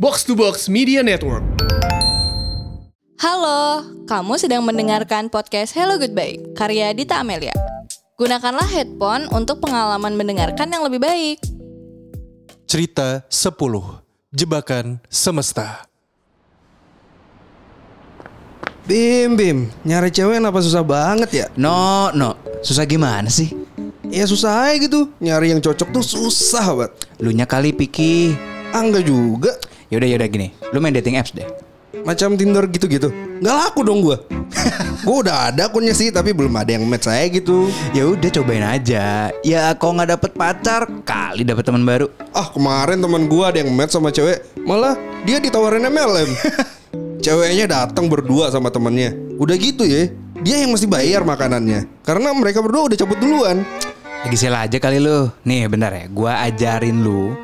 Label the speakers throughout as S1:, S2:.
S1: Box to Box Media Network.
S2: Halo, kamu sedang mendengarkan podcast Hello Goodbye karya Dita Amelia. Gunakanlah headphone untuk pengalaman mendengarkan yang lebih baik.
S3: Cerita 10 Jebakan Semesta
S4: Bim, Bim, nyari cewek kenapa susah banget ya?
S5: No, no. Susah gimana sih?
S4: Ya susah aja gitu, nyari yang cocok tuh susah banget.
S5: Lunya kali pikir.
S4: Ah enggak juga,
S5: Yaudah, yaudah gini. Lu main dating apps deh.
S4: macam Tinder gitu-gitu. Nggak laku dong gua. gua udah ada akunnya sih, tapi belum ada yang match saya gitu.
S5: Ya udah cobain aja. Ya kalau nggak dapet pacar, kali dapet teman baru.
S4: Ah kemarin teman gua ada yang match sama cewek, malah dia ditawarin MLM. Ceweknya datang berdua sama temannya. Udah gitu ya, dia yang mesti bayar makanannya. Karena mereka berdua udah cabut duluan.
S5: Lagi sela aja kali lu. Nih bentar ya, gua ajarin lu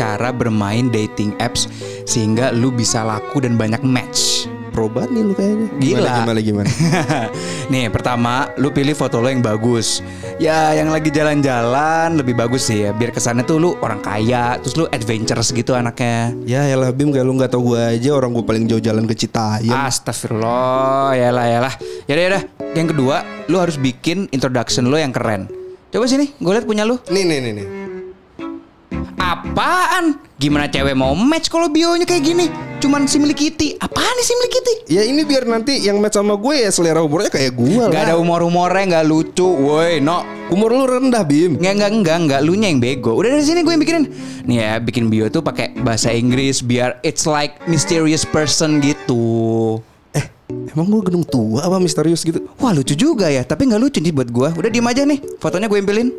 S5: cara bermain dating apps sehingga lu bisa laku dan banyak match.
S4: Probat nih lu kayaknya.
S5: Gila.
S4: Gimana, gimana, gimana.
S5: Nih pertama lu pilih foto lo yang bagus Ya yang lagi jalan-jalan lebih bagus sih ya Biar kesannya tuh lu orang kaya Terus lu adventurous gitu anaknya
S4: Ya ya lah Bim kayak lu gak tau gue aja orang gue paling jauh jalan ke Citayam
S5: Ah. Astagfirullah ya lah ya lah Yaudah yaudah Yang kedua lu harus bikin introduction lo yang keren Coba sini gue liat punya lu
S4: Nih nih nih nih
S5: Apaan? Gimana cewek mau match kalau bionya kayak gini? Cuman si milik Kitty Apaan nih si milik Kitty?
S4: Ya ini biar nanti yang match sama gue ya selera umurnya kayak gue lah
S5: Gak ada um- humor-humornya gak lucu Woi no
S4: Umur lu rendah Bim
S5: Enggak, enggak, enggak, enggak, lu nya yang bego. Udah dari sini gue yang bikinin. Nih ya, bikin bio tuh pakai bahasa Inggris biar it's like mysterious person gitu.
S4: Eh emang gue gedung tua apa misterius gitu
S5: Wah lucu juga ya, tapi nggak lucu nih buat gue. Udah diem aja nih, fotonya gue empilin.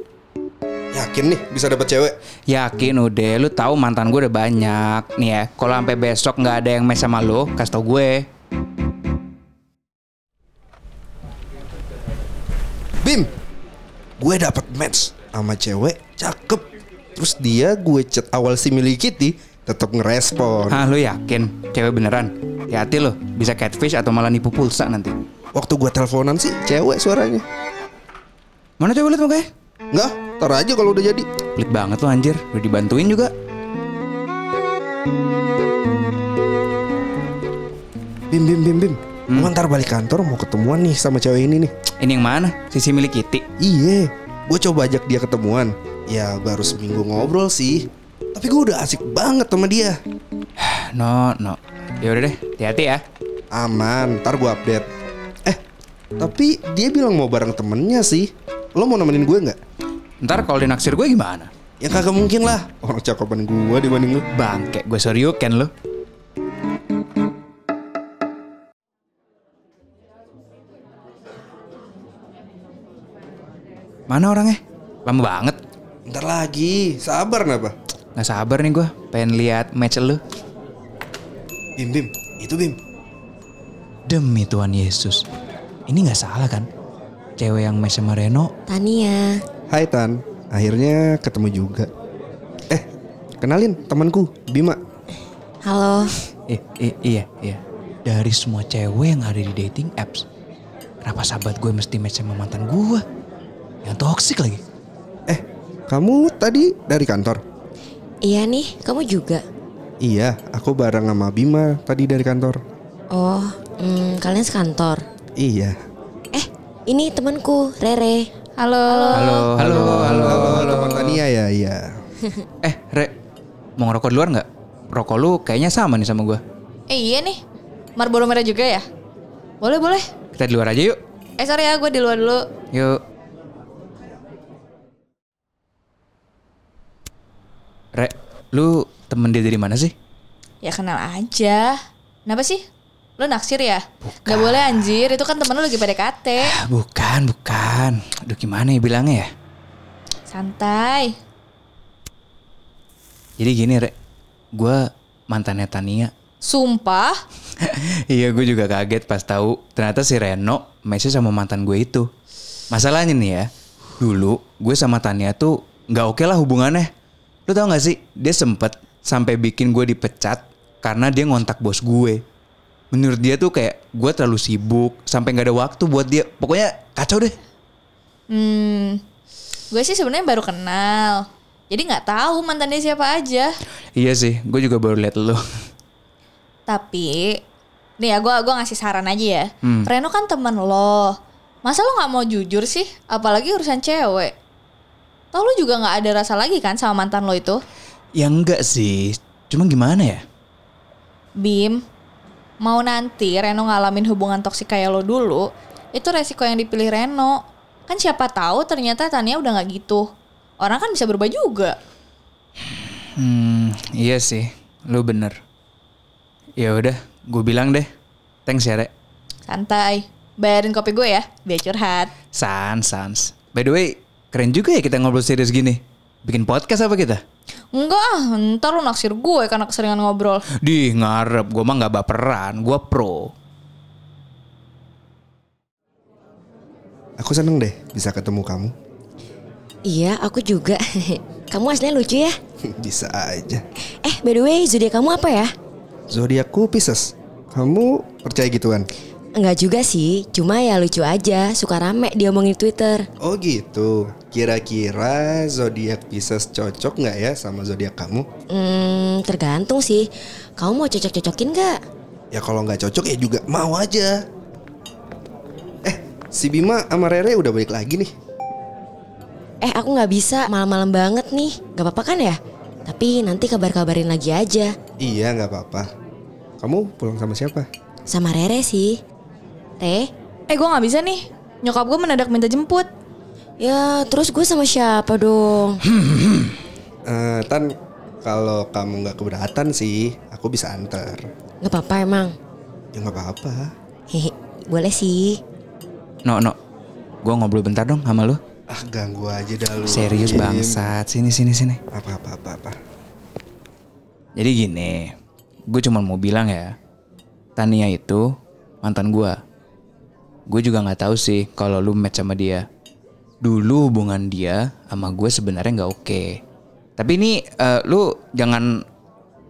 S4: Yakin nih bisa dapet cewek
S5: Yakin udah, lu tahu mantan gue udah banyak. Nih ya, kalau sampai besok nggak ada yang mes sama lu, kasih tau gue.
S4: Bim Gue dapet match sama cewek cakep Terus dia gue chat awal si milik Kitty tetap ngerespon
S5: Hah, Ah, lu yakin? Cewek beneran? Hati-hati lo, bisa catfish atau malah nipu pulsa nanti.
S4: Waktu gue teleponan sih cewek suaranya
S5: Mana coba lihat mukanya?
S4: Nggak, tar aja kalau udah jadi
S5: Pelit banget lo anjir, udah dibantuin juga.
S4: Bim Bim Bim Bim
S5: Hmm.
S4: Gua ntar balik kantor mau ketemuan nih sama cewek ini nih
S5: Ini yang mana? Sisi milik Kitty.
S4: Iya, gue coba ajak dia ketemuan. Ya baru seminggu ngobrol sih. Tapi gue udah asik banget sama dia.
S5: No, no. Ya udah deh, hati-hati ya.
S4: Aman, ntar gue update. Eh, tapi dia bilang mau bareng temennya sih. Lo mau nemenin gue nggak?
S5: Ntar kalau dinaksir gue gimana?
S4: Ya kagak mungkin lah. Orang cakepan gue dibanding lo.
S5: Bangke, gue soryuken lo. Mana orangnya? Lama banget.
S4: Ntar lagi, sabar napa?
S5: Nggak sabar nih gue, pengen lihat match lo.
S4: Bim Bim, itu Bim.
S5: Demi Tuhan Yesus. Ini nggak salah kan? Cewek yang match sama Reno
S2: Tania,
S4: Hai Tan, akhirnya ketemu juga. Eh, kenalin temanku Bima.
S2: halo.
S5: I- i- iya, iya. Dari semua cewek yang ada di dating apps, kenapa sahabat gue mesti match sama mantan gue? Yang toksik lagi.
S4: Eh, kamu tadi dari kantor?
S2: Iya nih, kamu juga.
S4: Iya, aku bareng sama Bima tadi dari kantor.
S2: Oh, hmm, kalian sekantor.
S4: Iya.
S2: Eh, ini temanku, Rere.
S5: Halo, halo, halo.
S4: Oh, Halo, teman Tania ya, iya.
S5: Eh, Re, mau ngerokok di luar nggak? Rokok lu kayaknya sama nih sama gue.
S6: Eh iya nih, Marlboro merah juga ya? Boleh boleh.
S5: Kita di luar aja yuk.
S6: Eh sorry ya, gue di luar dulu.
S5: Yuk. Re, lu temen dia dari mana sih?
S6: Ya kenal aja. Kenapa sih? Lo naksir ya? Gak boleh anjir, itu kan temen lo lagi PDKT.
S5: Ah, Bukan, bukan. Aduh gimana ya bilangnya ya?
S6: Santai.
S5: Jadi gini Re, gue mantannya Tania.
S6: Sumpah.
S5: iya gue juga kaget pas tahu ternyata si Reno mesnya sama mantan gue itu. Masalahnya nih ya, dulu gue sama Tania tuh nggak oke lah hubungannya. Lu tau gak sih, dia sempet sampai bikin gue dipecat karena dia ngontak bos gue. Menurut dia tuh kayak gue terlalu sibuk sampai nggak ada waktu buat dia. Pokoknya kacau deh.
S6: Hmm. Gue sih sebenarnya baru kenal. Jadi nggak tahu mantannya siapa aja.
S5: Iya sih, gue juga baru lihat lu.
S6: Tapi nih ya gue gua ngasih saran aja ya. Reno kan temen lo. Masa lo nggak mau jujur sih? Apalagi urusan cewek. Tau lo juga nggak ada rasa lagi kan sama mantan lo itu?
S5: Ya enggak sih. Cuma gimana ya?
S6: Bim, mau nanti Reno ngalamin hubungan toksik kayak lo dulu, itu resiko yang dipilih Reno. Kan siapa tahu ternyata Tania udah nggak gitu. Orang kan bisa berubah juga.
S5: Hmm, iya sih. Lu bener. Ya udah, gue bilang deh. Thanks ya, Rek.
S6: Santai, bayarin kopi gue ya, biar curhat.
S5: Sans, sans. By the way, keren juga ya kita ngobrol serius gini. Bikin podcast apa kita?
S6: Enggak, ah, ntar lo naksir gue karena keseringan ngobrol.
S5: Di ngarep, gue mah nggak baperan, gue pro.
S4: Aku seneng deh bisa ketemu kamu.
S7: Iya, aku juga. Kamu aslinya lucu ya.
S4: bisa aja.
S7: Eh, by the way, zodiak kamu apa ya?
S4: Zodiakku Pisces. Kamu percaya gituan?
S7: Enggak juga sih, cuma ya lucu aja, suka rame diomongin di Twitter.
S4: Oh gitu. Kira-kira zodiak Pisces cocok nggak ya sama zodiak kamu?
S7: Hmm, tergantung sih. Kamu mau cocok-cocokin gak?
S4: Ya kalau nggak cocok ya juga mau aja. Eh, si Bima sama Rere udah balik lagi nih.
S7: Eh, aku nggak bisa malam-malam banget nih. Gak apa-apa kan ya? Tapi nanti kabar-kabarin lagi aja.
S4: Iya nggak apa-apa. Kamu pulang sama siapa?
S7: Sama Rere sih. Re?
S6: Eh gue nggak bisa nih, nyokap gue mendadak minta jemput.
S7: Ya, terus gue sama siapa dong?
S4: Eh, Tan, kalau kamu nggak keberatan sih, aku bisa antar.
S7: Gak apa-apa emang.
S4: Ya nggak apa-apa.
S7: Hehe, boleh sih.
S5: No, no. Gue ngobrol bentar dong sama lu.
S4: Ah ganggu aja dah lu.
S5: Serius
S4: Im.
S5: bangsat. Sini, sini, sini.
S4: Apa apa apa apa.
S5: Jadi gini, gue cuma mau bilang ya, Tania itu mantan gue. Gue juga nggak tahu sih kalau lu match sama dia. Dulu hubungan dia sama gue sebenarnya nggak oke. Tapi ini eh, lu jangan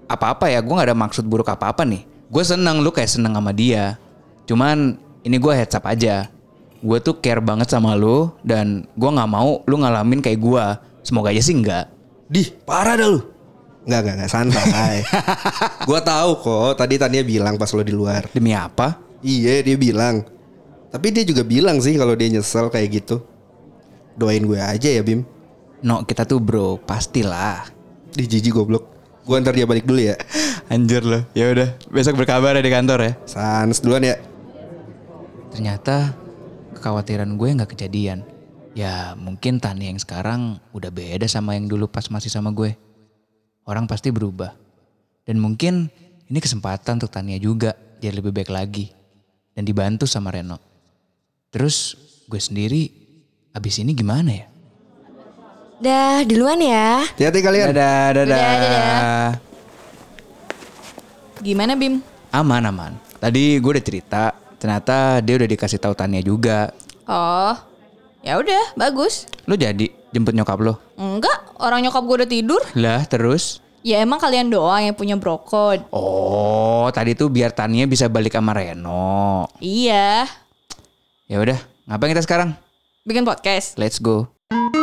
S5: apa-apa ya, gue nggak ada maksud buruk apa-apa nih. Gue seneng lu kayak seneng sama dia. Cuman ini gue heads up aja. Gue tuh care banget sama lu dan gue nggak mau lu ngalamin kayak gue. Semoga aja sih enggak.
S4: Dih, parah dah lu. Enggak, enggak, enggak santai. gua tahu kok, tadi Tania bilang pas lo di luar.
S5: Demi apa?
S4: Iya, dia bilang. Tapi dia juga bilang sih kalau dia nyesel kayak gitu. Doain gue aja ya, Bim.
S5: No, kita tuh bro, pastilah.
S4: Di jijik goblok. Gua antar dia balik dulu ya.
S5: Anjir loh. Ya udah, besok berkabar ya di kantor ya.
S4: Sans duluan ya.
S5: Ternyata kekhawatiran gue nggak kejadian. Ya mungkin Tani yang sekarang udah beda sama yang dulu pas masih sama gue. Orang pasti berubah. Dan mungkin ini kesempatan untuk Tania juga jadi lebih baik lagi. Dan dibantu sama Reno. Terus gue sendiri abis ini gimana ya?
S7: Dah, duluan ya.
S4: Hati-hati kalian.
S5: Dadah,
S6: Dadah, dadah. Gimana Bim?
S5: Aman, aman. Tadi gue udah cerita, ternyata dia udah dikasih tahu Tania juga.
S6: Oh, ya udah bagus.
S5: Lo jadi jemput nyokap lo?
S6: Enggak, orang nyokap gue udah tidur.
S5: Lah, terus?
S6: Ya emang kalian doang yang punya brokod.
S5: Oh, tadi tuh biar Tania bisa balik sama Reno.
S6: Iya,
S5: Ya udah, ngapain kita sekarang?
S6: bikin podcast.
S5: Let's go.